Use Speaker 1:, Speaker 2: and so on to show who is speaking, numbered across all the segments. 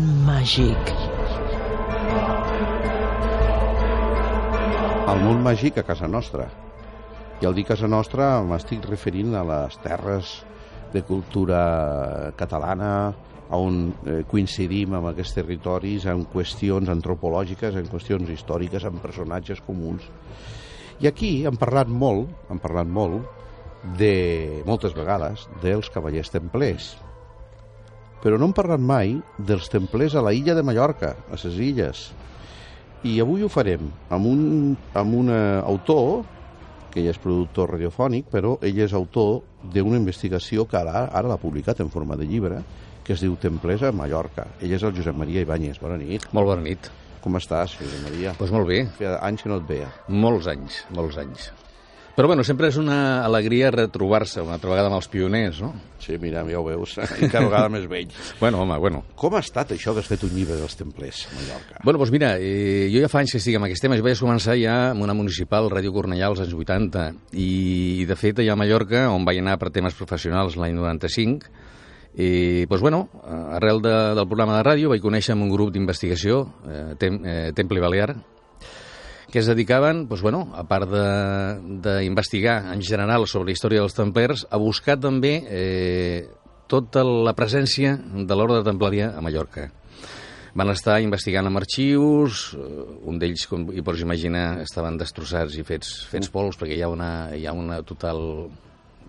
Speaker 1: màgic.
Speaker 2: El món màgic a casa nostra. I al dir casa nostra m'estic referint a les terres de cultura catalana, on eh, coincidim amb aquests territoris en qüestions antropològiques, en qüestions històriques, en personatges comuns. I aquí hem parlat molt, hem parlat molt, de, moltes vegades, dels cavallers templers. Però no hem parlat mai dels templers a la illa de Mallorca, a les illes. I avui ho farem amb un, amb un eh, autor, que ell és productor radiofònic, però ell és autor d'una investigació que ara, ara l'ha publicat en forma de llibre, que es diu Templers a Mallorca. Ell és el Josep Maria Ibáñez. Bona nit.
Speaker 3: Molt bona nit.
Speaker 2: Com estàs, Josep Maria?
Speaker 3: Doncs pues molt bé,
Speaker 2: Feia anys que no et veia.
Speaker 3: molts anys, molts anys. Però bueno, sempre és una alegria retrobar-se una altra vegada amb els pioners, no?
Speaker 2: Sí, mira, ja ho veus, i cada vegada més vell.
Speaker 3: Bueno, home, bueno.
Speaker 2: Com ha estat això que has fet un llibre dels templers a Mallorca?
Speaker 3: Bueno, doncs mira, eh, jo ja fa anys que estic amb aquest tema. Jo vaig començar ja amb una municipal, Ràdio Cornellà, als anys 80. I, de fet, allà a Mallorca, on vaig anar per temes professionals l'any 95, i, doncs, bueno, eh, arrel de, del programa de ràdio vaig conèixer amb un grup d'investigació, eh, tem, eh, Temple Balear, que es dedicaven, doncs, bueno, a part d'investigar en general sobre la història dels templers, a buscar també eh, tota la presència de l'ordre templària a Mallorca. Van estar investigant amb arxius, eh, un d'ells, com hi pots imaginar, estaven destrossats i fets,
Speaker 2: Mm.
Speaker 3: fets pols, perquè hi ha una, hi ha una total...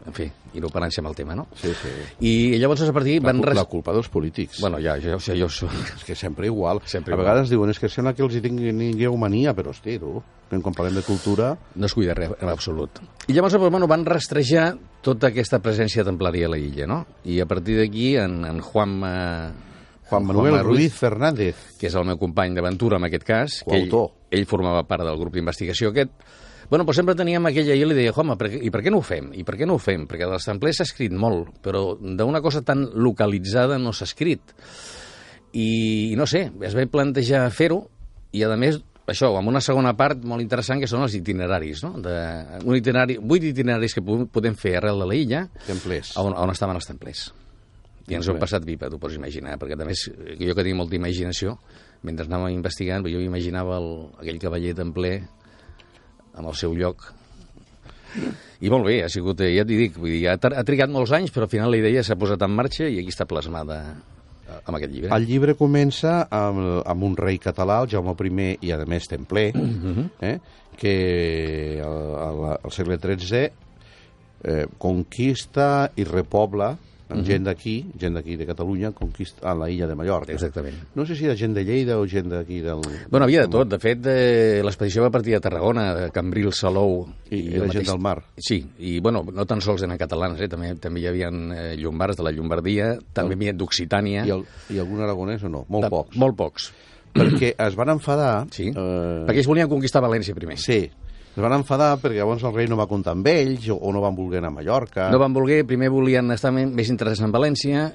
Speaker 3: En fi, inoperància amb el tema, no?
Speaker 2: Sí, sí.
Speaker 3: I llavors, a partir,
Speaker 2: La,
Speaker 3: van...
Speaker 2: cul-
Speaker 3: res-
Speaker 2: la culpa dels polítics.
Speaker 3: Bueno, ja, ja, o sigui, jo soc...
Speaker 2: És que sempre igual.
Speaker 3: Sempre
Speaker 2: a vegades diuen, és que sembla que els hi tingueu mania, però hosti, tu, que quan parlem de cultura...
Speaker 3: No es cuida res, en absolut. I llavors, però, bueno, van rastrejar tota aquesta presència templària a la illa, no? I a partir d'aquí, en, en Juan... Eh,
Speaker 2: Juan Manuel Ruiz Fernández.
Speaker 3: que és el meu company d'aventura en aquest cas, que ell,
Speaker 2: Coautor.
Speaker 3: ell formava part del grup d'investigació aquest, bueno, però sempre teníem aquella i jo li deia, home, per, què- i per què no ho fem? I per què no ho fem? Perquè dels templers s'ha escrit molt, però d'una cosa tan localitzada no s'ha escrit. I, no sé, es va plantejar fer-ho i, a més, això, amb una segona part molt interessant que són els itineraris, no? De, un itinerari, vuit itineraris que podem, podem fer arrel de la illa,
Speaker 2: Templers.
Speaker 3: on, on estaven els templers. I ens ho hem passat pipa, t'ho pots imaginar, perquè també és, jo que tinc molta imaginació, mentre anàvem investigant, jo imaginava el, aquell cavaller templer amb el seu lloc. I molt bé, ha sigut, eh, ja t'hi dic, vull dir, ha, tar- ha trigat molts anys, però al final la idea s'ha posat en marxa i aquí està plasmada eh, amb aquest llibre.
Speaker 2: El llibre comença amb, amb un rei català, el Jaume I, i a més templer, eh, que al, al, al segle XIII eh, conquista i repobla amb gent d'aquí, gent d'aquí de Catalunya, conquista a la illa de Mallorca.
Speaker 3: Exactament.
Speaker 2: No sé si era gent de Lleida o gent d'aquí del...
Speaker 3: Bueno, havia de tot. De fet, eh, l'expedició va partir de Tarragona, de Cambrils, Salou...
Speaker 2: I, i
Speaker 3: el
Speaker 2: era gent del mar.
Speaker 3: Sí, i bueno, no tan sols eren catalans, eh? també, també hi havia eh, llombards de la Llombardia, també hi havia d'Occitània...
Speaker 2: I, el, I algun aragonès o no? Molt
Speaker 3: de-
Speaker 2: pocs.
Speaker 3: Eh? Molt pocs,
Speaker 2: Perquè es van enfadar...
Speaker 3: sí.
Speaker 2: eh,
Speaker 3: Perquè ells volien conquistar València primer.
Speaker 2: Sí, es van enfadar perquè llavors el rei no va comptar amb ells o, o no van voler anar a Mallorca.
Speaker 3: No van voler, primer volien estar men- més interessats en València,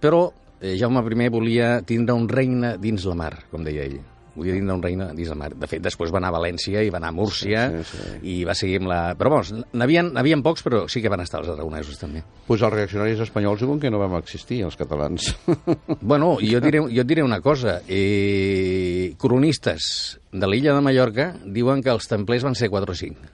Speaker 3: però eh, Jaume I volia tindre un regne dins la mar, com deia ell. Volia tindre un regne dins la mar. De fet, després va anar a València i va anar a Múrcia
Speaker 2: Sí, sí, sí.
Speaker 3: i va seguir amb la... Però, vamos, n'havien n'havien pocs, però sí que van estar els aragonesos, també.
Speaker 2: Pues els reaccionaris espanyols diuen que no vam existir, els catalans.
Speaker 3: Bueno, i jo et diré, jo et diré una cosa. Eh, cronistes de l'illa de Mallorca diuen que els templers van ser 4 o 5.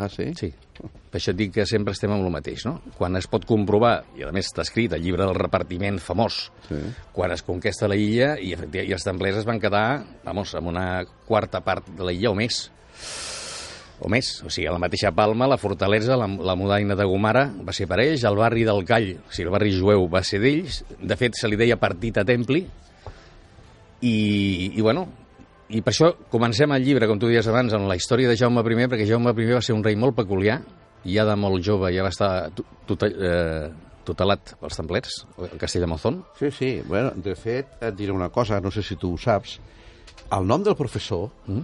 Speaker 2: ah, sí?
Speaker 3: Sí. Per això et dic que sempre estem amb el mateix, no? Quan es pot comprovar, i a més està escrit al llibre del repartiment famós,
Speaker 2: Sí.
Speaker 3: quan es conquesta la illa i, efecti- i els templers es van quedar, vamos, amb una quarta part de la illa o més. O més. O sigui, a la mateixa Palma, la fortalesa, la, la mudaina de Gomara va ser per ells, el barri del Call, o sigui, el barri jueu va ser d'ells. De fet, se li deia partita templi. I, i bueno, i per això comencem el llibre, com tu deies abans, amb la història de Jaume I, perquè Jaume I va ser un rei molt peculiar, i ja de molt jove ja va estar tu- tutel- eh, tutelat pels templers, el castell de Mozón.
Speaker 2: Sí, sí. Bueno, de fet, et diré una cosa, no sé si tu ho saps. El nom del professor, mm?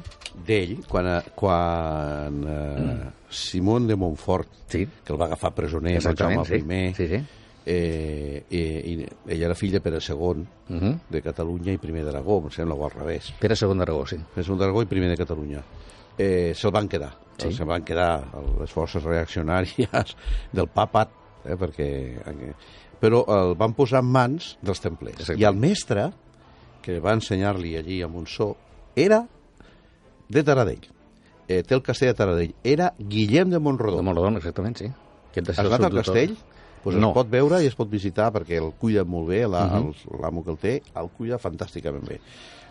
Speaker 2: d'ell, quan, eh, quan eh, Simón de Montfort,
Speaker 3: Sí.
Speaker 2: que el va agafar presoner, el
Speaker 3: Exactament,
Speaker 2: Jaume
Speaker 3: sí.
Speaker 2: I,
Speaker 3: Sí, sí.
Speaker 2: Eh, i, i, ell era fill de Pere II,
Speaker 3: Uh -huh.
Speaker 2: de Catalunya i primer d'Aragó, em sembla, o al revés.
Speaker 3: Pere II d'Aragó, sí.
Speaker 2: és un d'Aragó i primer de Catalunya. Eh, Se'l van quedar. Sí. Se'l van quedar les forces reaccionàries del papat, eh, perquè... Però el van posar en mans dels templers.
Speaker 3: Exacte.
Speaker 2: I el mestre, que va ensenyar-li allí a Montsó era de Taradell. Eh, té el castell de Taradell. Era Guillem de Monrodó.
Speaker 3: De Montrodon, exactament, sí. Aquest
Speaker 2: Has anat al castell? Doncs
Speaker 3: No.
Speaker 2: es pot veure i es pot visitar perquè el cuida molt bé, la-
Speaker 3: Mhm.
Speaker 2: el- l'amo que el té, el cuida fantàsticament bé.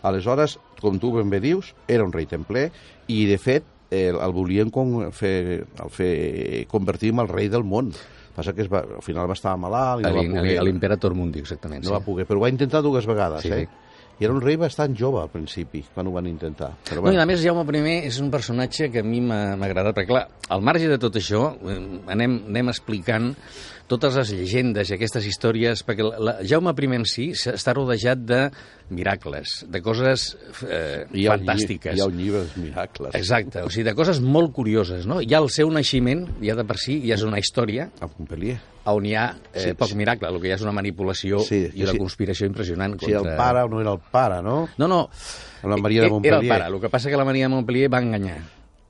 Speaker 2: Aleshores, com tu ben bé dius, era un rei templer i, de fet, eh, el volien con- fer, el fer convertir en el rei del món. Passa que es va, al final va estar malalt i no va poder...
Speaker 3: A l'Imperator Mundi, exactament.
Speaker 2: No
Speaker 3: sí.
Speaker 2: va poder, però ho va intentar dues vegades,
Speaker 3: Sí,
Speaker 2: eh?
Speaker 3: sí.
Speaker 2: I era un rei bastant jove al principi, quan ho van intentar. Però
Speaker 3: No, i
Speaker 2: bueno,
Speaker 3: a més Jaume I és un personatge que a mi m'ha m'ha agradat, perquè clar, al marge de tot això eh, anem, anem explicant totes les llegendes i aquestes històries, perquè la, la, Jaume I en si s- està rodejat de miracles, de coses eh,
Speaker 2: hi ha un lli-
Speaker 3: fantàstiques.
Speaker 2: Hi ha un llibre dels miracles.
Speaker 3: Exacte, o sigui, de coses molt curioses, no? Ja el seu naixement, ja de per si, ja és una història
Speaker 2: A Montpellier.
Speaker 3: on hi ha eh,
Speaker 2: Sí,
Speaker 3: poc
Speaker 2: sí.
Speaker 3: miracle, el que hi ha és una manipulació
Speaker 2: Sí,
Speaker 3: i una
Speaker 2: sí.
Speaker 3: conspiració impressionant.
Speaker 2: Si el pare o no era el pare, no?
Speaker 3: No, no.
Speaker 2: La Maria de
Speaker 3: E- Era el
Speaker 2: Montpellier.
Speaker 3: pare. El que passa que la Maria de Montpellier va enganyar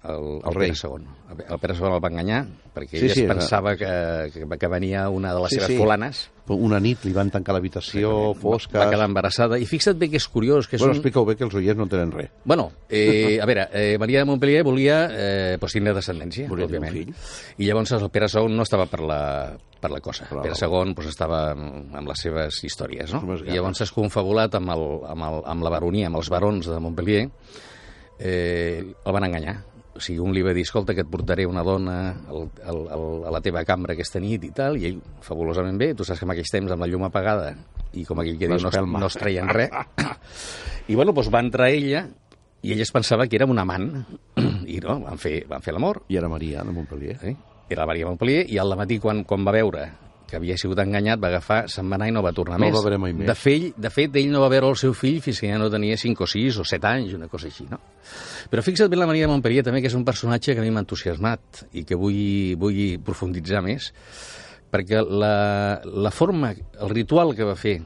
Speaker 3: el, el,
Speaker 2: El rei.
Speaker 3: rei II. El, el Pere II el va enganyar perquè
Speaker 2: Sí,
Speaker 3: ell
Speaker 2: sí,
Speaker 3: es
Speaker 2: era-
Speaker 3: pensava que, que, que venia una de les
Speaker 2: Sí,
Speaker 3: seves
Speaker 2: sí.
Speaker 3: folanes.
Speaker 2: Una nit li van tancar l'habitació, fosca...
Speaker 3: Va quedar embarassada. I fixa't bé que és curiós, que és
Speaker 2: Bueno,
Speaker 3: un...
Speaker 2: explica-ho bé, que els oients no tenen res.
Speaker 3: Bueno, eh, a veure, eh, Maria de Montpellier volia eh, pues, tindre descendència,
Speaker 2: Volia tenir un
Speaker 3: òbviament. I llavors el Pere II no estava per la, per la cosa.
Speaker 2: la
Speaker 3: Pere II pues, estava amb amb les seves històries,
Speaker 2: Les
Speaker 3: no?
Speaker 2: seves
Speaker 3: I llavors s'ha confabulat amb, el, amb, el, amb la baronia, amb els barons de Montpellier. Eh, el van enganyar. O sigui, un li va dir, escolta, que et portaré una dona al, al, al, a la teva cambra aquesta nit i tal, i ell, fabulosament bé, tu saps que en aquells temps, amb la llum apagada, i com aquell que diu, no, es-
Speaker 2: L'espelma.
Speaker 3: no es treien res, i bueno, doncs va entrar ella i ella es pensava que era un amant i no, van fer, van fer l'amor.
Speaker 2: I era Maria de Montpellier.
Speaker 3: Sí? Era la Maria Montpellier i al matí quan, quan va veure que havia sigut enganyat, va agafar, se'n va anar i no va tornar
Speaker 2: No
Speaker 3: més.
Speaker 2: el va veure mai més.
Speaker 3: De, fell, de fet, ell no va veure el seu fill fins que ja no tenia 5 o 6 o 7 anys, una cosa així, no? Però fixa't bé en la Maria de Montpellier també, que és un personatge que a mi m'ha entusiasmat i que vull, vull profunditzar més, perquè la, la forma, el ritual que va fer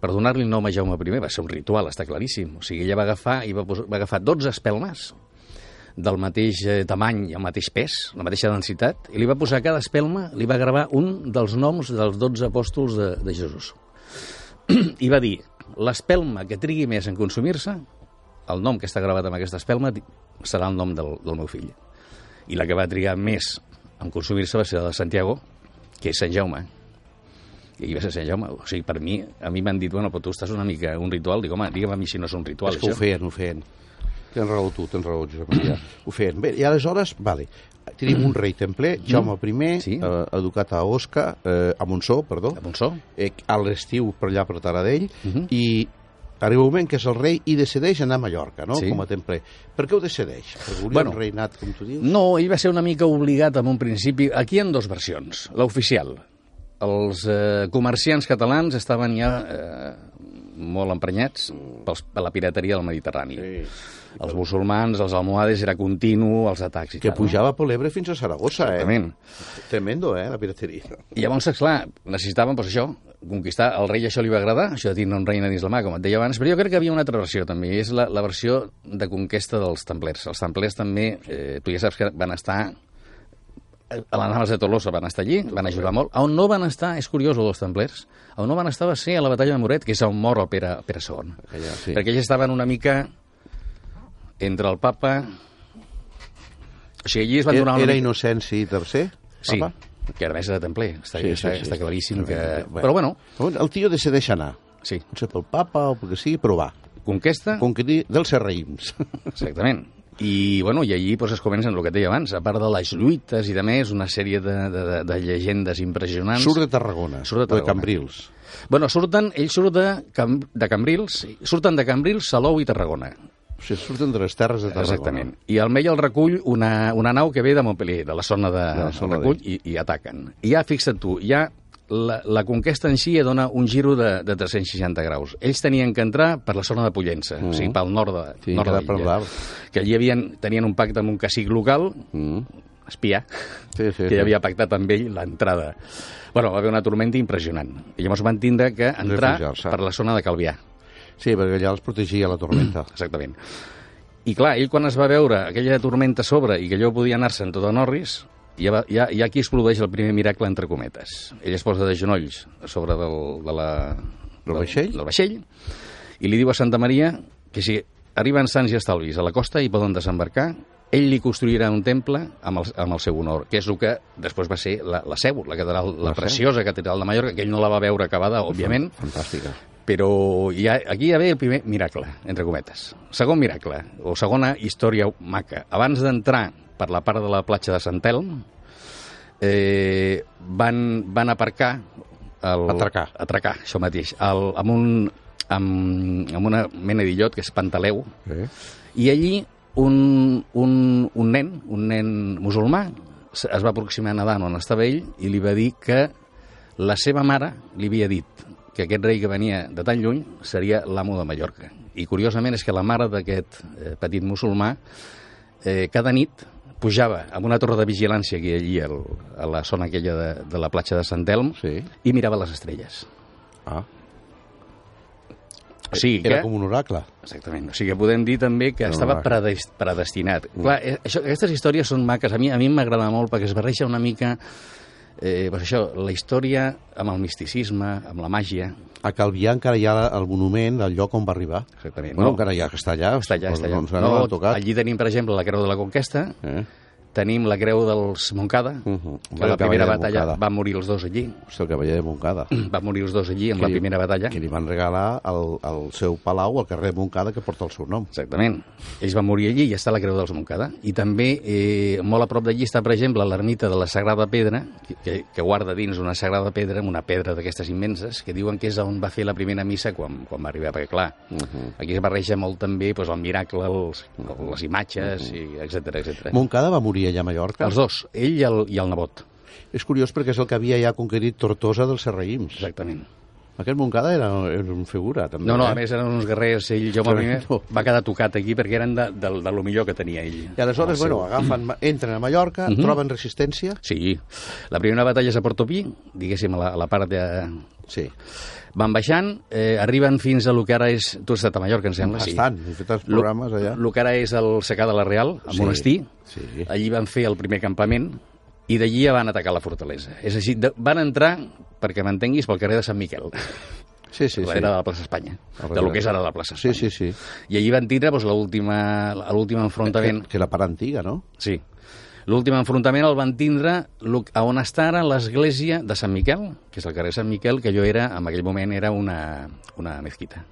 Speaker 3: per donar-li nom a Jaume I va ser un ritual, està claríssim. O sigui, ella va agafar, i va, posar, va agafar 12 espelmes del mateix eh, tamany, i el mateix pes, la mateixa densitat, i li va posar a cada espelma, li va gravar un dels noms dels 12 apòstols de, de Jesús. I va dir, l'espelma que trigui més en consumir-se, el nom que està gravat amb aquesta espelma di- serà el nom del, del meu fill. I la que va trigar més en consumir-se va ser la de Santiago, que és Sant Jaume. I ell va ser Sant Jaume. O sigui, per mi, a mi m'han dit, bueno, però tu estàs una mica un ritual. Dic, home, digue'm a mi si no és un ritual,
Speaker 2: És que ho
Speaker 3: això.
Speaker 2: feien, ho feien. Tens raó tu, tens raó, Josep Maria. ho feien. Bé, i aleshores, vale, tenim un rei templer, Jaume I,
Speaker 3: Mm. Sí.
Speaker 2: eh, educat a Osca, eh, a Montsó, perdó,
Speaker 3: A Mhm. Montsó?
Speaker 2: eh, a l'estiu per allà per Taradell, i arriba un moment que és el rei i decideix anar a Mallorca, no?,
Speaker 3: Sí.
Speaker 2: com a templer. Per què ho decideix? Perquè volia
Speaker 3: Bueno.
Speaker 2: un reinat, com tu dius?
Speaker 3: No, ell va ser una mica obligat en un principi. Aquí hi ha dues versions. L'oficial. Els eh, comerciants catalans estaven ja eh, molt emprenyats pels, per la pirateria del Mediterrani.
Speaker 2: Sí.
Speaker 3: Els musulmans, els almohades, era continu, els atacs i
Speaker 2: Que
Speaker 3: tal. no?
Speaker 2: pujava per l'Ebre fins a Saragossa, eh?
Speaker 3: Exactament.
Speaker 2: Tremendo, eh, la pirateria.
Speaker 3: I llavors, clar, necessitaven, doncs, això, conquistar el rei, això li va agradar, això de dir no em reina dins la mà, com et deia abans, però jo crec que hi havia una altra versió, també, i és la, la versió de conquesta dels templers. Els templers també, eh, tu ja saps que van estar eh, a les naves de Tolosa van estar allí, van ajudar molt. A on no van estar, és curiós, el dels templers, a on no van estar va ser a la batalla de Moret, que és on mor el Pere, Pere II.
Speaker 2: Aquella, sí.
Speaker 3: Perquè ells estaven una mica entre el papa... O sigui, allí es van donar
Speaker 2: Eh, Era,
Speaker 3: una
Speaker 2: era
Speaker 3: mica...
Speaker 2: Innocenci III?
Speaker 3: Sí,
Speaker 2: Papa?
Speaker 3: que era mestre de templer. Està,
Speaker 2: Sí,
Speaker 3: sí, està,
Speaker 2: sí, sí,
Speaker 3: està
Speaker 2: sí.
Speaker 3: claríssim que...
Speaker 2: Bueno.
Speaker 3: Però bueno,
Speaker 2: Llavors, El tio decideix anar.
Speaker 3: sí,
Speaker 2: Potser pel papa o pel que sigui, però va.
Speaker 3: conquesta,
Speaker 2: Conquerir dels serraïms.
Speaker 3: exactament. I, bueno, i allí doncs, es comencen el que et deia abans, a part de les lluites i de més, una sèrie de, de, de, de llegendes impressionants.
Speaker 2: Surt de Tarragona.
Speaker 3: Surt de
Speaker 2: o
Speaker 3: Tarragona.
Speaker 2: De Cambrils.
Speaker 3: Bueno, surten, ells surten de, Cam... de Cambrils, surten de Cambrils, Salou i Tarragona.
Speaker 2: O sigui, surten de les terres de Tarragona.
Speaker 3: Exactament. I al Mella el recull una, una nau que ve de Montpellier, de la zona de,
Speaker 2: De la zona
Speaker 3: el recull, i, i ataquen. I ja, fixa't tu, ja la, la conquesta en si ja dona un giro de, de 360 graus. Ells tenien que entrar per la zona de Pollença, mm. o sigui, pel nord de,
Speaker 2: Sí,
Speaker 3: nord de
Speaker 2: quedar per
Speaker 3: l'illa.
Speaker 2: dalt.
Speaker 3: Que allí havien, tenien un pacte amb un cacic local,
Speaker 2: Mm.
Speaker 3: espiar,
Speaker 2: Sí, sí,
Speaker 3: que
Speaker 2: sí.
Speaker 3: ja havia pactat amb ell l'entrada. Bueno, va haver una tormenta impressionant. I llavors van tindre que entrar
Speaker 2: Refugiar-se.
Speaker 3: per la zona de Calvià.
Speaker 2: Sí, perquè allà els protegia la tormenta.
Speaker 3: Exactament. I clar, ell quan es va veure aquella tormenta a sobre i que allò podia anar-se'n tot a Norris, ja, va, ja, ja aquí es produeix el primer miracle entre cometes. Ell es posa de genolls a sobre del, de la,
Speaker 2: Del vaixell?
Speaker 3: Del vaixell, i i li diu a Santa Maria que si arriben sants i estalvis a la costa i poden desembarcar, ell li construirà un temple amb el, amb el seu honor, que és el que després va ser la, la seu, la catedral, la,
Speaker 2: La seu.
Speaker 3: preciosa catedral de Mallorca, que ell no la va veure acabada, òbviament,
Speaker 2: Fantàstica.
Speaker 3: però ja, aquí ja ve el primer miracle, entre cometes. Segon miracle, o segona història maca. Abans d'entrar per la part de la platja de Sant Elm, eh, van, van aparcar... El,
Speaker 2: Atracar.
Speaker 3: Atracar, això mateix. El, amb, un, amb, amb una mena d'illot que és Pantaleu,
Speaker 2: Eh?
Speaker 3: i allí un, un, un nen, un nen musulmà, s- es va aproximar a Adán on estava ell i li va dir que la seva mare li havia dit que aquest rei que venia de tan lluny seria l'amo de Mallorca. I curiosament és que la mare d'aquest eh, petit musulmà eh, cada nit pujava amb una torre de vigilància que hi ha allí al, a la zona aquella de, de la platja de Sant Elm
Speaker 2: Sí.
Speaker 3: i mirava les estrelles.
Speaker 2: Ah.
Speaker 3: O sigui
Speaker 2: Eh, Era
Speaker 3: que-
Speaker 2: com un oracle.
Speaker 3: Exactament. O sigui que podem dir també que
Speaker 2: No,
Speaker 3: estava
Speaker 2: no, no.
Speaker 3: predest, predestinat. Clar, eh, això, aquestes històries són maques. A mi a mi m'agrada molt perquè es barreja una mica eh, doncs això, la història amb el misticisme, amb la màgia.
Speaker 2: A Calvià encara hi ha el monument del lloc on va arribar.
Speaker 3: Exactament.
Speaker 2: Bueno,
Speaker 3: Eh, no,
Speaker 2: encara ja que està allà.
Speaker 3: està allà, està allà.
Speaker 2: Doncs ara no, l'han tocat.
Speaker 3: allí tenim, per exemple, la Creu de la Conquesta,
Speaker 2: Eh?
Speaker 3: tenim la Creu dels Moncada,
Speaker 2: Mhm.
Speaker 3: que a la
Speaker 2: El cavaller
Speaker 3: primera
Speaker 2: de
Speaker 3: batalla
Speaker 2: Montcada.
Speaker 3: van morir els dos allí.
Speaker 2: És el cavaller de Montcada.
Speaker 3: Van morir els dos allí amb
Speaker 2: Que
Speaker 3: la
Speaker 2: li-
Speaker 3: primera batalla.
Speaker 2: Que li van regalar el, el seu palau al carrer Montcada que porta el seu nom.
Speaker 3: Exactament. Ells van morir allí i està la Creu dels Montcada. I també, eh, molt a prop d'allí està, per exemple, l'ermita de la Sagrada Pedra, que- que, que guarda dins una Sagrada Pedra, amb una pedra d'aquestes immenses, que diuen que és on va fer la primera missa quan, quan va arribar, perquè, clar, uh
Speaker 2: Mhm.
Speaker 3: -huh. aquí es barreja molt també doncs, el miracle, els, les imatges,
Speaker 2: Mhm.
Speaker 3: uh -huh. etc etc.
Speaker 2: Montcada va morir allà a Mallorca.
Speaker 3: Els dos, ell i el, i el nebot.
Speaker 2: És curiós perquè és el que havia ja conquerit Tortosa dels Serraïms.
Speaker 3: Exactament.
Speaker 2: Aquest Montcada era, era un figura, també.
Speaker 3: No, no,
Speaker 2: eh?
Speaker 3: a més eren uns guerrers, ell, Jaume I,
Speaker 2: Tremendo.
Speaker 3: va quedar tocat aquí perquè eren de, de, de lo millor que tenia ell.
Speaker 2: I aleshores, bueno, agafen, entren a Mallorca,
Speaker 3: Mm-hmm.
Speaker 2: troben resistència...
Speaker 3: Sí, la primera batalla és a Portopí, diguéssim, a la, a la part de...
Speaker 2: Sí,
Speaker 3: Van baixant, eh, arriben fins a lo que ara és... Tu has estat a Mallorca, em sembla,
Speaker 2: bastant. He fet els
Speaker 3: Lo-
Speaker 2: programes allà.
Speaker 3: El que ara és el secà de la Real, el
Speaker 2: Sí,
Speaker 3: monestir.
Speaker 2: sí.
Speaker 3: Allí van fer el primer campament i d'allí ja van atacar la fortalesa. És així, de, van entrar, perquè m'entenguis, pel carrer de Sant Miquel,
Speaker 2: Sí, sí,
Speaker 3: sí,
Speaker 2: sí.
Speaker 3: darrere de la plaça Espanya,
Speaker 2: Darrere.
Speaker 3: de lo que és ara la plaça
Speaker 2: Sí,
Speaker 3: Espanya.
Speaker 2: sí, Eh, sí.
Speaker 3: I allí van tindre doncs, l'última- l'últim
Speaker 2: Que,
Speaker 3: enfrontament.
Speaker 2: que la part antiga, no?
Speaker 3: Sí. L'últim enfrontament el van tindre lo- a on està ara l'església de Sant Miquel, que és el carrer Sant Miquel, que jo era, en aquell moment era una, una mezquita.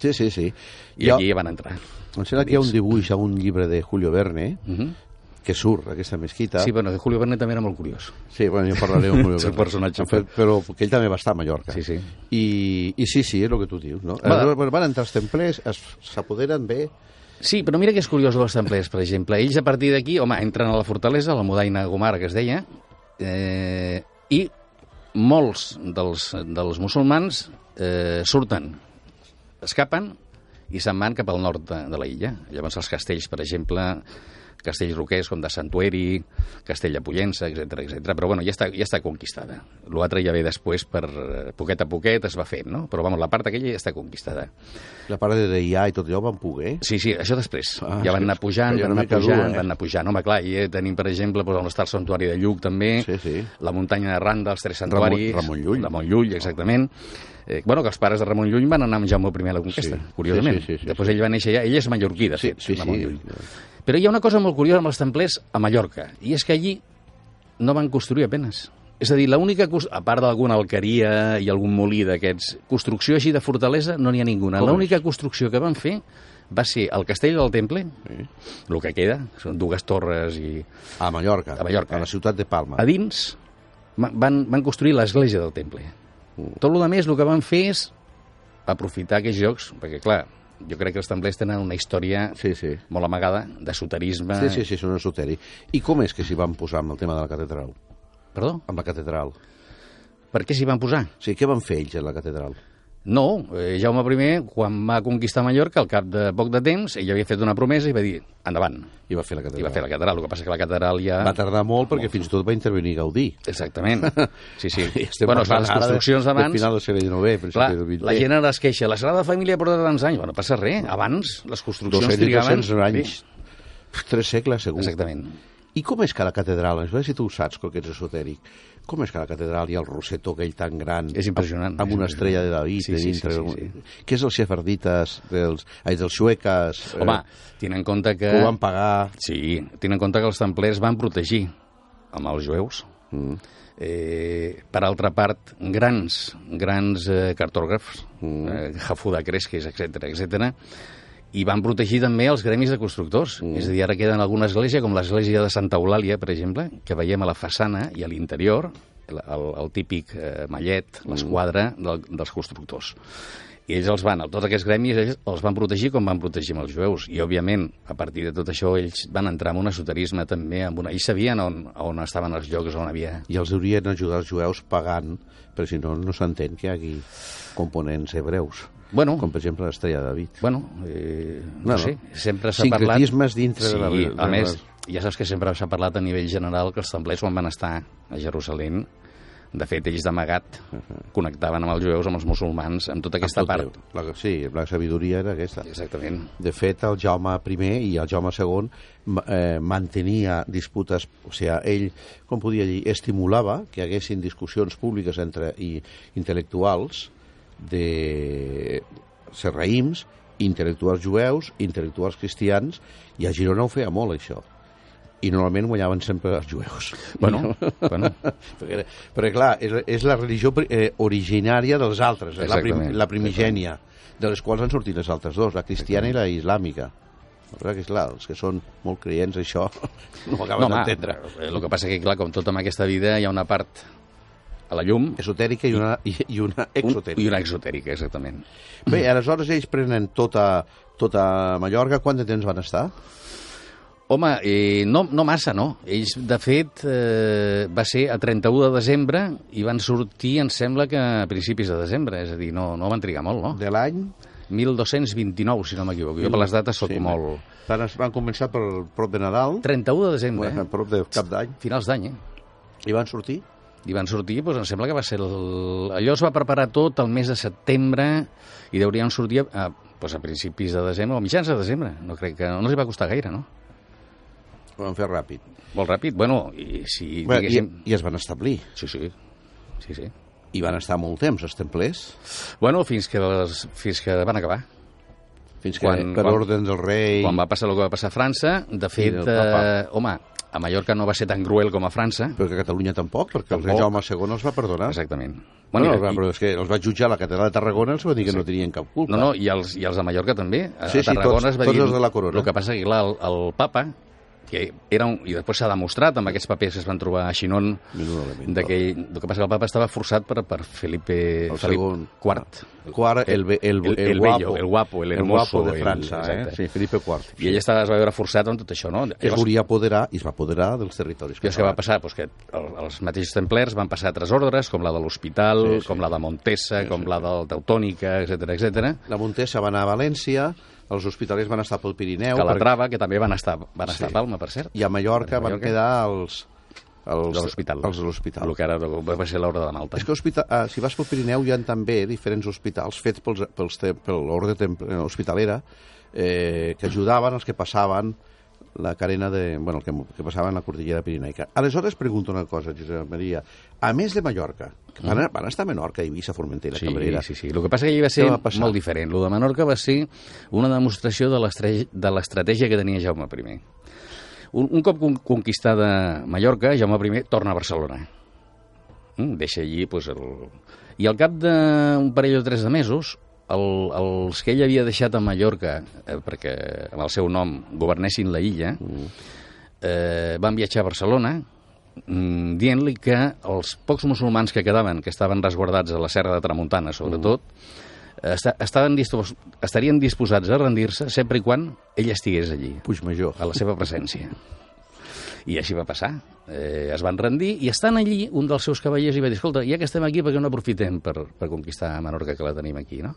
Speaker 2: Sí, sí, sí.
Speaker 3: I allí van entrar.
Speaker 2: Em sembla que hi ha un dibuix a un llibre de Julio Verne
Speaker 3: Uh -huh.
Speaker 2: que surt, aquesta mesquita.
Speaker 3: Sí, bueno, de Julio Verne també era molt curiós.
Speaker 2: Sí, bueno, jo parlaré amb Julio
Speaker 3: És un
Speaker 2: Verne.
Speaker 3: personatge.
Speaker 2: Em fa- Però que ell també va estar a Mallorca.
Speaker 3: Sí, sí.
Speaker 2: I, i sí, sí, és el que tu dius, no?
Speaker 3: Va.
Speaker 2: Aleshores, bueno, van entrar els templers, es- s'apoderen bé...
Speaker 3: Sí, però mira que és curiós dels templers, per exemple. Ells a partir d'aquí, home, entren a la fortalesa, a la Modaina Gomara, que es deia, eh, i molts dels, dels musulmans eh, surten, escapen i se'n van cap al nord de, de la illa. Llavors els castells, per exemple, castells roquers com de Santueri, Castell de Pollença, etc etc. però bueno, ja està, ja està conquistada. L'altre ja ve després per eh, poquet a poquet es va fent, no? Però vamos, la part aquella ja està conquistada.
Speaker 2: La part de DIA i tot allò van poder.
Speaker 3: Sí, sí, això després.
Speaker 2: Ah,
Speaker 3: Ah, ja van anar
Speaker 2: sí,
Speaker 3: pujant,
Speaker 2: que era
Speaker 3: van
Speaker 2: una
Speaker 3: anar
Speaker 2: mica
Speaker 3: pujant,
Speaker 2: dur, eh?
Speaker 3: van anar pujant. Home, clar, i eh, tenim, per exemple, doncs, on està el santuari de Lluc, també,
Speaker 2: Sí, sí.
Speaker 3: la muntanya de Randa, els tres santuaris...
Speaker 2: Ramon Llull.
Speaker 3: Ramon Llull, exactament. Eh, bueno, que els pares de Ramon Llull van anar amb Jaume I a la Conquesta,
Speaker 2: Sí,
Speaker 3: curiosament.
Speaker 2: sí, sí, sí, sí,
Speaker 3: Després ell va néixer allà, ell és mallorquí, de
Speaker 2: Sí,
Speaker 3: fet,
Speaker 2: sí,
Speaker 3: Ramon
Speaker 2: sí.
Speaker 3: Llull. Però hi ha una cosa molt curiosa amb els templers a Mallorca, i és que allí no van construir apenes. És a dir, l'única, cos- a part d'alguna alqueria i algun molí d'aquests, construcció així de fortalesa no n'hi ha ninguna.
Speaker 2: Com
Speaker 3: L'única construcció que van fer va ser el castell del Temple,
Speaker 2: Sí.
Speaker 3: el que queda, són dues torres i...
Speaker 2: A Mallorca.
Speaker 3: A Mallorca. eh.
Speaker 2: A la ciutat de Palma.
Speaker 3: A dins ma- van, van construir l'església del Temple.
Speaker 2: Mm.
Speaker 3: Tot el més el que van fer és aprofitar aquests jocs, perquè clar, jo crec que els templers tenen una història
Speaker 2: Sí, sí.
Speaker 3: molt amagada de soterisme...
Speaker 2: Sí, sí, sí, són esoteri. I com és que s'hi van posar amb el tema de la catedral?
Speaker 3: Perdó?
Speaker 2: Amb la catedral. O
Speaker 3: Per què s'hi van posar?
Speaker 2: sigui, què van fer ells a la catedral?
Speaker 3: No, eh, Jaume I, quan va conquistar Mallorca, al cap de poc de temps, ell havia fet una promesa i va dir, endavant,
Speaker 2: I va fer la
Speaker 3: i
Speaker 2: catedral.
Speaker 3: va fer la catedral. El que passa que la catedral ja...
Speaker 2: Va tardar molt perquè fins i tot va intervenir Gaudí.
Speaker 3: Exactament. Sí, sí.
Speaker 2: I estem
Speaker 3: bueno, es fan
Speaker 2: parlant
Speaker 3: les
Speaker 2: ara
Speaker 3: construccions
Speaker 2: de- del
Speaker 3: abans...
Speaker 2: final del segle XIX, principi
Speaker 3: Clar,
Speaker 2: del XX.
Speaker 3: la gent ara es queixa. La Sagrada Família porta tants anys. Bueno, passa res. Abans les construccions
Speaker 2: 200,
Speaker 3: trigaven...
Speaker 2: 300 anys. Tres segles, segur.
Speaker 3: Exactament.
Speaker 2: I com és que a la catedral, a veure si tu ho saps, que ets esotèric, com és que a la catedral hi ha el rosetó aquell tan gran...
Speaker 3: És impressionant,
Speaker 2: Amb, amb
Speaker 3: és
Speaker 2: una
Speaker 3: impressionant.
Speaker 2: estrella de David
Speaker 3: Sí,
Speaker 2: de
Speaker 3: sí, sí,
Speaker 2: dintre.
Speaker 3: sí,
Speaker 2: Què és els xefardites, dels, ai, dels sueques...
Speaker 3: Home, tenen en compte
Speaker 2: eh,
Speaker 3: que...
Speaker 2: que ho Eh, van pagar...
Speaker 3: Sí, tenen en compte que els templers van protegir amb els jueus.
Speaker 2: Mm.
Speaker 3: Eh, per altra part, grans, grans eh, cartògrafs, mm. eh, Jafuda Cresques, etc etc. i van protegir també els gremis de constructors. Mm. És a dir, ara queden alguna església, com l'església de Santa Eulàlia, per exemple, que veiem a la façana i a l'interior, el, el, el típic eh, mallet, l'esquadra del, dels constructors. I ells els van, tots aquests gremis, ells els van protegir com van protegir amb els jueus. I, òbviament, a partir de tot això, ells van entrar en un esoterisme també, amb una... ells sabien on, on estaven els llocs on havia
Speaker 2: I els haurien d'ajudar els jueus pagant, però si no, no s'entén que hi hagi components hebreus,
Speaker 3: Bueno,
Speaker 2: com per exemple l'estrella de David.
Speaker 3: bueno eh,
Speaker 2: No,
Speaker 3: no,
Speaker 2: no.
Speaker 3: sé, sempre s'ha parlat...
Speaker 2: Sincretismes dintre de
Speaker 3: sí,
Speaker 2: la- de
Speaker 3: a
Speaker 2: la-
Speaker 3: més, ja saps que sempre s'ha parlat a nivell general que els templers quan van estar a Jerusalem, de fet, ells d'amagat connectaven amb els jueus, amb els musulmans, amb tota aquesta
Speaker 2: Tot
Speaker 3: part.
Speaker 2: Déu. La, sí, la sabidoria era aquesta.
Speaker 3: Exactament.
Speaker 2: De fet, el Jaume I i el Jaume II ma- eh, mantenia disputes, o sigui, ell, com podia dir, estimulava que hi haguessin discussions públiques entre i, intel·lectuals de serraïms, intel·lectuals jueus, intel·lectuals cristians, i a Girona ho feia molt, això. I normalment guanyaven sempre els jueus.
Speaker 3: Bueno, bueno,
Speaker 2: perquè, perquè clar, és, és la religió pri- eh, originària dels altres, és la, prim,
Speaker 3: Exactament.
Speaker 2: la primigènia, de les quals han sortit les altres dos, la cristiana i la islàmica. La veritat que, és clar, els que són molt creients, això no ho acaben
Speaker 3: no, home, eh,
Speaker 2: d'entendre.
Speaker 3: el que passa que, clar, com tot en aquesta vida, hi ha una part a la llum
Speaker 2: Esotèrica i una, i, i una
Speaker 3: un,
Speaker 2: exotèrica.
Speaker 3: i una exotèrica, exactament.
Speaker 2: Bé, aleshores ells prenen tota, tota Mallorca. Quant de temps van estar?
Speaker 3: Home, eh, no, no massa, no. Ells, de fet, eh, va ser a 31 de desembre i van sortir, em sembla que a principis de desembre, és a dir, no, no van trigar molt, no?
Speaker 2: De l'any?
Speaker 3: 1229, si no m'equivoco. Jo per les dates sóc
Speaker 2: Sí,
Speaker 3: molt...
Speaker 2: Van, es- van començar pel prop de Nadal,
Speaker 3: 31 de
Speaker 2: bueno,
Speaker 3: desembre,
Speaker 2: a
Speaker 3: eh?
Speaker 2: prop de cap d'any,
Speaker 3: finals d'any, eh?
Speaker 2: i van sortir.
Speaker 3: I van sortir, doncs em sembla que va ser... El... Allò es va preparar tot el mes de setembre i deurien sortir a, doncs a principis de desembre o mitjans de desembre. No crec que... No els hi va costar gaire, no?
Speaker 2: Ho van fer ràpid.
Speaker 3: Molt ràpid. Bueno, i si
Speaker 2: Bé, i,
Speaker 3: diguéssim...
Speaker 2: I es van establir.
Speaker 3: Sí, sí. Sí, sí.
Speaker 2: I van estar molt temps, els templers.
Speaker 3: Bueno, fins que, les, fins que van acabar.
Speaker 2: Fins que,
Speaker 3: Quan-
Speaker 2: quan, per
Speaker 3: quan-
Speaker 2: ordre del rei...
Speaker 3: Quan va passar el que va passar a França, de fet,
Speaker 2: del Papa.
Speaker 3: eh, home, a Mallorca no va ser tan cruel com a França.
Speaker 2: Però que a Catalunya tampoc, perquè el rei
Speaker 3: Tampoc.
Speaker 2: Jaume II els va perdonar.
Speaker 3: Exactament.
Speaker 2: Bueno,
Speaker 3: i-
Speaker 2: no, però és que els va jutjar a la catedral de Tarragona, els va dir que no tenien cap culpa.
Speaker 3: No, no, i els, i els de Mallorca també. A,
Speaker 2: Sí,
Speaker 3: a
Speaker 2: sí,
Speaker 3: Tarragona
Speaker 2: tots-
Speaker 3: es va
Speaker 2: tots
Speaker 3: dir...
Speaker 2: els de la corona.
Speaker 3: El que passa que, clar, el, el papa, que era un, i després s'ha demostrat amb aquests papers que es van trobar a Xinon,
Speaker 2: Menudo
Speaker 3: d'aquell... El que passa que el papa estava forçat per, per Felipe,
Speaker 2: El
Speaker 3: Felip
Speaker 2: segon.
Speaker 3: IV.
Speaker 2: El quart, el, be- el,
Speaker 3: El-
Speaker 2: el,
Speaker 3: el
Speaker 2: guapo.
Speaker 3: bello, el guapo, el hermoso,
Speaker 2: guapo de
Speaker 3: el-
Speaker 2: França, eh?
Speaker 3: exacte.
Speaker 2: Sí, Felipe IV.
Speaker 3: I ell estava, es va veure forçat amb tot això, no?
Speaker 2: Que es volia apoderar, i es va apoderar dels territoris.
Speaker 3: Llavors, què va passar? Pues que el- els mateixos templers van passar altres ordres, com la de l'Hospital,
Speaker 2: Sí, sí.
Speaker 3: com la de Montesa, com la del Teutònica, etc etc.
Speaker 2: La Montesa va anar a València, els hospitalers van estar pel Pirineu,
Speaker 3: Calatrava, que també van estar, van estar a Palma, per cert.
Speaker 2: i a Mallorca,
Speaker 3: A Mallorca.
Speaker 2: van quedar els... els
Speaker 3: De l'hospital.
Speaker 2: Els de l'hospital.
Speaker 3: El que ara va ser l'ordre de Malta.
Speaker 2: És que hospital, ah, si vas pel Pirineu hi ha també diferents hospitals fets pels, pels te, per l'ordre tem- eh, hospitalera eh, que ajudaven els que passaven la carena de... Bueno, el que, que passaven la cordillera pirinaica. Aleshores, pregunto una cosa, Josep Maria. A més de Mallorca, que van, a- van estar a Menorca, Eivissa, Formentera,
Speaker 3: Mm. Sí,
Speaker 2: Cabrera...
Speaker 3: sí, sí. El que passa que allà va ser
Speaker 2: va passar?
Speaker 3: molt diferent. El de Menorca va ser una demostració de l'estre- de l'estratègia que tenia Jaume I. Un, un cop con- conquistada Mallorca, Jaume I torna a Barcelona. Mm, deixa allí doncs, el... I al cap d'un parell o tres de mesos, el, els que ell havia deixat a Mallorca, eh, perquè amb el seu nom governessin la illa,
Speaker 2: Mm.
Speaker 3: eh, van viatjar a Barcelona mm, dient-li que els pocs musulmans que quedaven, que estaven resguardats a la serra de Tramuntana, sobretot, eh, esta, estaven dispos, estarien disposats a rendir-se sempre i quan ell estigués allí,
Speaker 2: Puigmajor.
Speaker 3: a la seva presència. I així va passar. Eh, es van rendir i estan allí un dels seus cavallers i va dir, escolta, ja que estem aquí, perquè no aprofitem per, per conquistar Menorca, que la tenim aquí, no?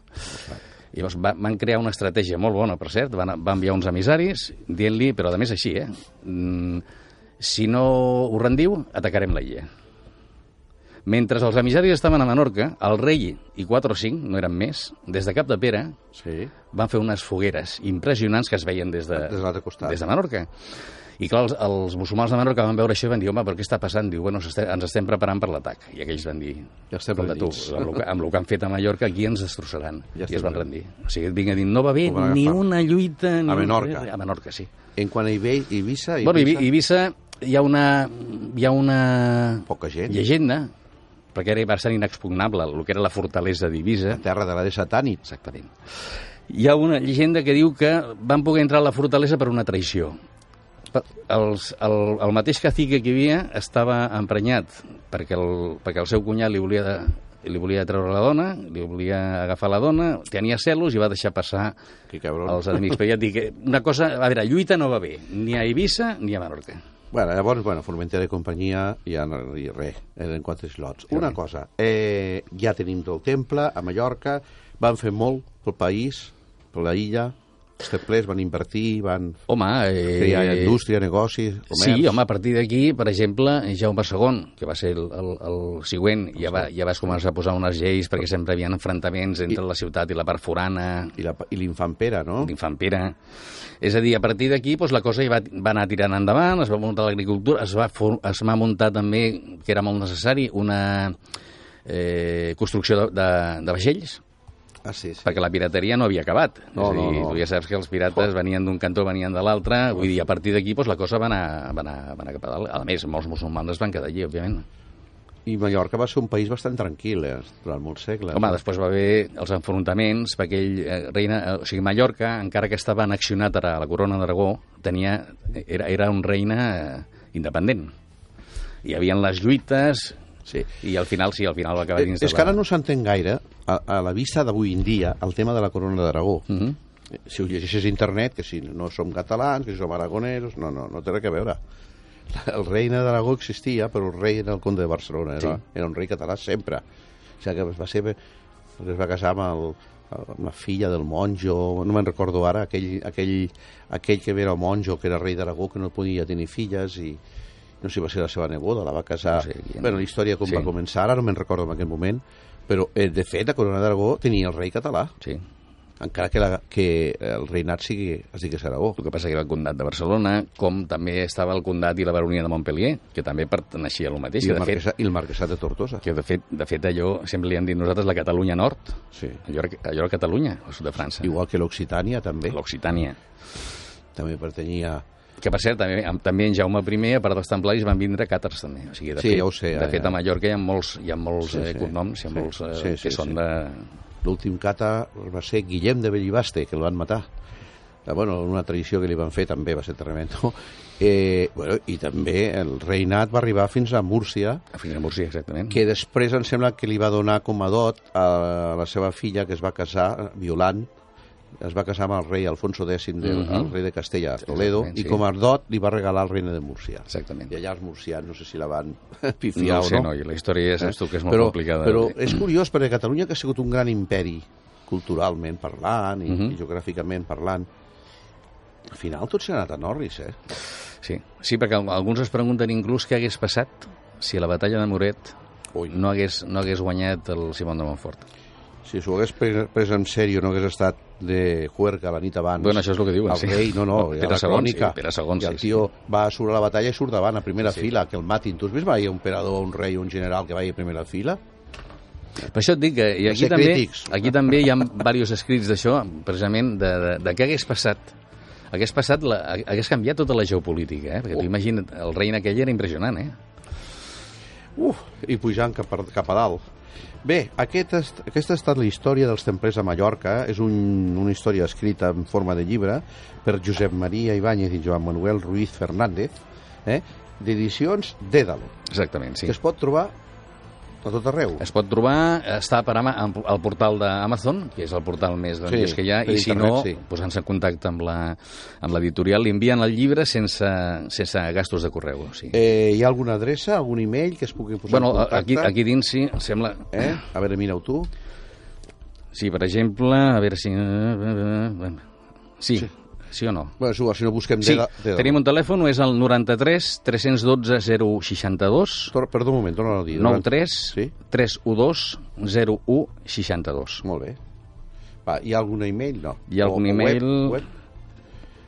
Speaker 3: I llavors va, van crear una estratègia molt bona, per cert, van, van enviar uns emissaris dient-li, però a més així, eh? Mm, si no ho rendiu, atacarem la illa. Mentre els emissaris estaven a Menorca, el rei i 4 o 5, no eren més, des de Cap de Pere
Speaker 2: Sí.
Speaker 3: van fer unes fogueres impressionants que es veien des de,
Speaker 2: Des de l'altre costat.
Speaker 3: des de Menorca. I clar, els, els musulmans de Menorca van veure això i van dir, home, però què està passant? Diu, bueno, estem, ens estem preparant per l'atac. I aquells van dir,
Speaker 2: Ja estem
Speaker 3: escolta, tu,
Speaker 2: rendits."
Speaker 3: amb el, que, amb el que han fet a Mallorca, aquí ens destrossaran.
Speaker 2: Ja
Speaker 3: Ja I
Speaker 2: estem
Speaker 3: es van
Speaker 2: rendits.
Speaker 3: rendir. O sigui, vinc a dir, no va bé
Speaker 2: Ho van
Speaker 3: ni
Speaker 2: agafar.
Speaker 3: una lluita... Ni
Speaker 2: A
Speaker 3: un
Speaker 2: Menorca.
Speaker 3: res. A Menorca, sí.
Speaker 2: En quant a Ibe- Eivissa, Eivissa
Speaker 3: Bueno, Ibi- Eivissa hi ha una, hi ha una
Speaker 2: poca gent.
Speaker 3: llegenda, perquè era bastant inexpugnable el que era la fortalesa d'Ibiza.
Speaker 2: Terra de la de satànic.
Speaker 3: Exactament. Hi ha una llegenda que diu que van poder entrar a la fortalesa per una traïció. Per- Els, el, el mateix cacique que hi havia estava emprenyat perquè el, perquè el seu cunyat li volia, de, li volia treure la dona, li volia agafar la dona, tenia celos i va deixar passar
Speaker 2: Que cabron.
Speaker 3: els enemics. Però ja et dic, que una cosa... A veure, lluita no va bé, ni a Eivissa ni a Menorca.
Speaker 2: Bueno, llavors, bueno, Formentera i companyia, ja no dir res, eren quatre slots. Una cosa, eh, ja tenim del temple, a Mallorca, van fer molt pel país, per la illa, els templers van invertir, van
Speaker 3: Home, eh,
Speaker 2: crear indústria, negocis, comerç...
Speaker 3: Sí, home, a partir d'aquí, per exemple, Jaume II, que va ser el, el, el següent, ja, va, ja vas començar a posar unes lleis perquè sempre hi havia enfrontaments entre la ciutat i la part forana,
Speaker 2: I la- I l'infant Pere, no?
Speaker 3: l'infant Pere... És a dir, a partir d'aquí doncs, la cosa ja va, va anar tirant endavant, es va muntar l'agricultura, es, va for- es va muntar també, que era molt necessari, una eh, construcció de, de, de vaixells,
Speaker 2: Ah, sí, sí.
Speaker 3: perquè la pirateria no havia acabat.
Speaker 2: No,
Speaker 3: és a dir,
Speaker 2: no, no.
Speaker 3: tu ja saps que els pirates venien d'un cantó, venien de l'altre, vull dir, a partir d'aquí doncs, la cosa va anar, va, anar, va anar cap a dalt. A més, molts musulmans es van quedar allí, òbviament.
Speaker 2: I Mallorca va ser un país bastant tranquil, eh, durant molts segles.
Speaker 3: Home, després va haver els enfrontaments, perquè ell, eh, reina, eh, o sigui, Mallorca, encara que estava annexionat a la corona d'Aragó, tenia, era, era un reina eh, independent. Hi havien les lluites,
Speaker 2: Sí.
Speaker 3: i al final, sí, al final va acabar
Speaker 2: Eh, és
Speaker 3: dins de
Speaker 2: que
Speaker 3: la...
Speaker 2: ara no s'entén gaire, a, a la vista d'avui en dia, el tema de la corona d'Aragó. Mm
Speaker 3: Mhm.
Speaker 2: -hmm. Si ho llegeixes a internet, que si no som catalans, que si som aragonesos... No, no, no té res a veure. El reina d'Aragó existia, però el rei era el conde de Barcelona. Era,
Speaker 3: Sí.
Speaker 2: era un rei català sempre. O sigui que es va ser... Es va casar amb el amb la filla del monjo, no me'n recordo ara, aquell, aquell, aquell que era el monjo, que era rei d'Aragó, que no podia tenir filles i no sé si va ser la seva neboda, la va casar...
Speaker 3: No sé qui-
Speaker 2: bueno, la història com
Speaker 3: Sí.
Speaker 2: va començar, ara no me'n recordo en aquell moment, però eh, de fet la corona d'Aragó tenia el rei català,
Speaker 3: Sí.
Speaker 2: encara que, la, que el reinat sigui, es digués Aragó.
Speaker 3: El que passa que era el condat de Barcelona, com també estava el condat i la baronia de Montpellier, que també perteneixia a lo mateix.
Speaker 2: I
Speaker 3: Que
Speaker 2: el,
Speaker 3: de, fet,
Speaker 2: marquesa, I el marquesat de Tortosa.
Speaker 3: que de, fet, de fet, allò sempre li han dit nosaltres la Catalunya Nord.
Speaker 2: Sí.
Speaker 3: Allò, era- allò era Catalunya, el sud de França.
Speaker 2: Igual que l'Occitània també,
Speaker 3: L'Occitània.
Speaker 2: també pertanyia...
Speaker 3: Que, per cert, també, amb- també en Jaume I, a part dels templaris, van vindre càtars, també. O sigui, de
Speaker 2: Sí,
Speaker 3: fet,
Speaker 2: ja ho sé,
Speaker 3: De
Speaker 2: ja,
Speaker 3: fet,
Speaker 2: ja.
Speaker 3: a Mallorca hi ha molts, hi ha molts
Speaker 2: Sí,
Speaker 3: sí, sí.
Speaker 2: sí.
Speaker 3: Eh, cognoms, hi ha molts eh,
Speaker 2: Sí, sí,
Speaker 3: que són
Speaker 2: sí.
Speaker 3: de...
Speaker 2: L'últim cata va ser Guillem de Bellibaste, que el van matar. Eh, Bueno, una traïció que li van fer també va ser tremendo. Eh, bueno, I també el reinat va arribar fins a Múrcia,
Speaker 3: Fins a Múrcia, exactament.
Speaker 2: que després em sembla que li va donar com a dot a la seva filla que es va casar violant es va casar amb el rei Alfonso X, del, el rei de Castella, Toledo,
Speaker 3: Mhm. Exactament,
Speaker 2: i
Speaker 3: sí.
Speaker 2: com a dot li va regalar el reina de Múrcia.
Speaker 3: Exactament.
Speaker 2: I allà els murcians, no sé si la van pifiar
Speaker 3: No ho sé,
Speaker 2: o no. Eh?
Speaker 3: noi, la història ja saps tu que és molt
Speaker 2: però,
Speaker 3: complicada. eh?
Speaker 2: Però és curiós, perquè Catalunya, que ha sigut un gran imperi, culturalment parlant i,
Speaker 3: Mhm.
Speaker 2: i geogràficament parlant, al final tot s'ha anat a Norris, eh?
Speaker 3: Sí. sí, perquè al- alguns es pregunten inclús què hagués passat si a la batalla de Moret
Speaker 2: Ui.
Speaker 3: no hagués, no hagués guanyat el Simón de Montfort.
Speaker 2: Si s'ho hagués pres, pres en sèrio, no hagués estat de juerga la nit abans.
Speaker 3: Bueno, això és el que diuen,
Speaker 2: El
Speaker 3: sí.
Speaker 2: rei, no, no, hi
Speaker 3: El
Speaker 2: ha
Speaker 3: Pere
Speaker 2: la
Speaker 3: II,
Speaker 2: crònica.
Speaker 3: sí, Pere II,
Speaker 2: I el
Speaker 3: sí,
Speaker 2: tio va surt a la batalla i surt davant, a primera fila, que el matin. Tu has vist mai un emperador, un rei, un general que vagi a primera fila?
Speaker 3: Per això et dic que i aquí,
Speaker 2: ser
Speaker 3: també,
Speaker 2: crítics.
Speaker 3: aquí també hi ha diversos escrits d'això, precisament de, de, de què hagués passat hagués passat, la, hagués canviat tota la geopolítica, eh? perquè
Speaker 2: Oh.
Speaker 3: tu imagina't, el rei en aquell era impressionant, eh?
Speaker 2: Uf, i pujant cap, per- cap a dalt. Bé, aquest, est- aquesta ha estat la història dels templers a Mallorca. És un, una història escrita en forma de llibre per Josep Maria Ibáñez i Joan Manuel Ruiz Fernández, eh? d'edicions Dédalo,
Speaker 3: Exactament,
Speaker 2: sí.
Speaker 3: sí.
Speaker 2: que es pot trobar a tot arreu.
Speaker 3: Es pot trobar, està per ama, am- al portal d'Amazon, que és el portal més grandiós
Speaker 2: Sí,
Speaker 3: que hi ha,
Speaker 2: per
Speaker 3: i si
Speaker 2: internet,
Speaker 3: no,
Speaker 2: sí.
Speaker 3: posant-se en contacte amb la- amb l'editorial, li envien el llibre sense, sense gastos de correu. O sigui.
Speaker 2: Eh, hi ha alguna adreça, algun e-mail que es pugui posar
Speaker 3: bueno,
Speaker 2: en contacte?
Speaker 3: aquí, aquí dins sí, em sembla...
Speaker 2: Eh? A veure, mira-ho tu.
Speaker 3: Sí, per exemple, a veure si... Sí, sí, sí o no?
Speaker 2: Bueno, és igual, si no busquem...
Speaker 3: Sí,
Speaker 2: de, de,
Speaker 3: tenim un telèfon, és el 93 312 062
Speaker 2: Tor- Perdó un moment, torna a dir.
Speaker 3: 93
Speaker 2: Sí.
Speaker 3: 312 0162.
Speaker 2: Molt bé. Va, hi ha algun e-mail? No.
Speaker 3: Hi ha algun
Speaker 2: web,
Speaker 3: e-mail?
Speaker 2: Web?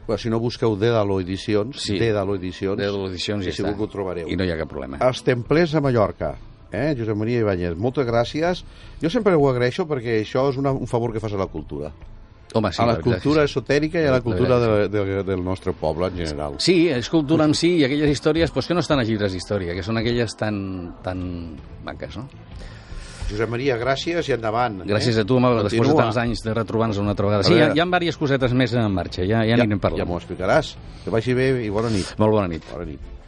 Speaker 2: Però si no busqueu Dédalo Edicions,
Speaker 3: Sí.
Speaker 2: Dédalo Edicions,
Speaker 3: Dédalo Edicions,
Speaker 2: i
Speaker 3: ja
Speaker 2: Doncs, segur
Speaker 3: està.
Speaker 2: que ho trobareu.
Speaker 3: I no hi ha cap problema.
Speaker 2: Els templers a Mallorca. Eh? Josep Maria Ibáñez, moltes gràcies. Jo sempre ho agraeixo perquè això és una, un favor que fas a la cultura.
Speaker 3: Home, sí,
Speaker 2: a la
Speaker 3: veritat,
Speaker 2: cultura
Speaker 3: sí.
Speaker 2: esotèrica i a
Speaker 3: La
Speaker 2: la cultura de, de, del nostre poble en general.
Speaker 3: Sí, és cultura en si i aquelles històries pues, que no estan als llibres d'història, que són aquelles tan, tan maques, no?
Speaker 2: Josep Maria, gràcies i endavant. eh?
Speaker 3: Gràcies a tu, Amable, després de
Speaker 2: Continua.
Speaker 3: tants anys de retrobar-nos una altra vegada.
Speaker 2: A
Speaker 3: Sí, hi ha,
Speaker 2: veure.
Speaker 3: hi ha diverses cosetes més en marxa, ja, ja, ja anirem
Speaker 2: Ja
Speaker 3: parlant.
Speaker 2: m'ho explicaràs. Que vagi bé i bona nit.
Speaker 3: Molt bona nit.
Speaker 2: Bona nit.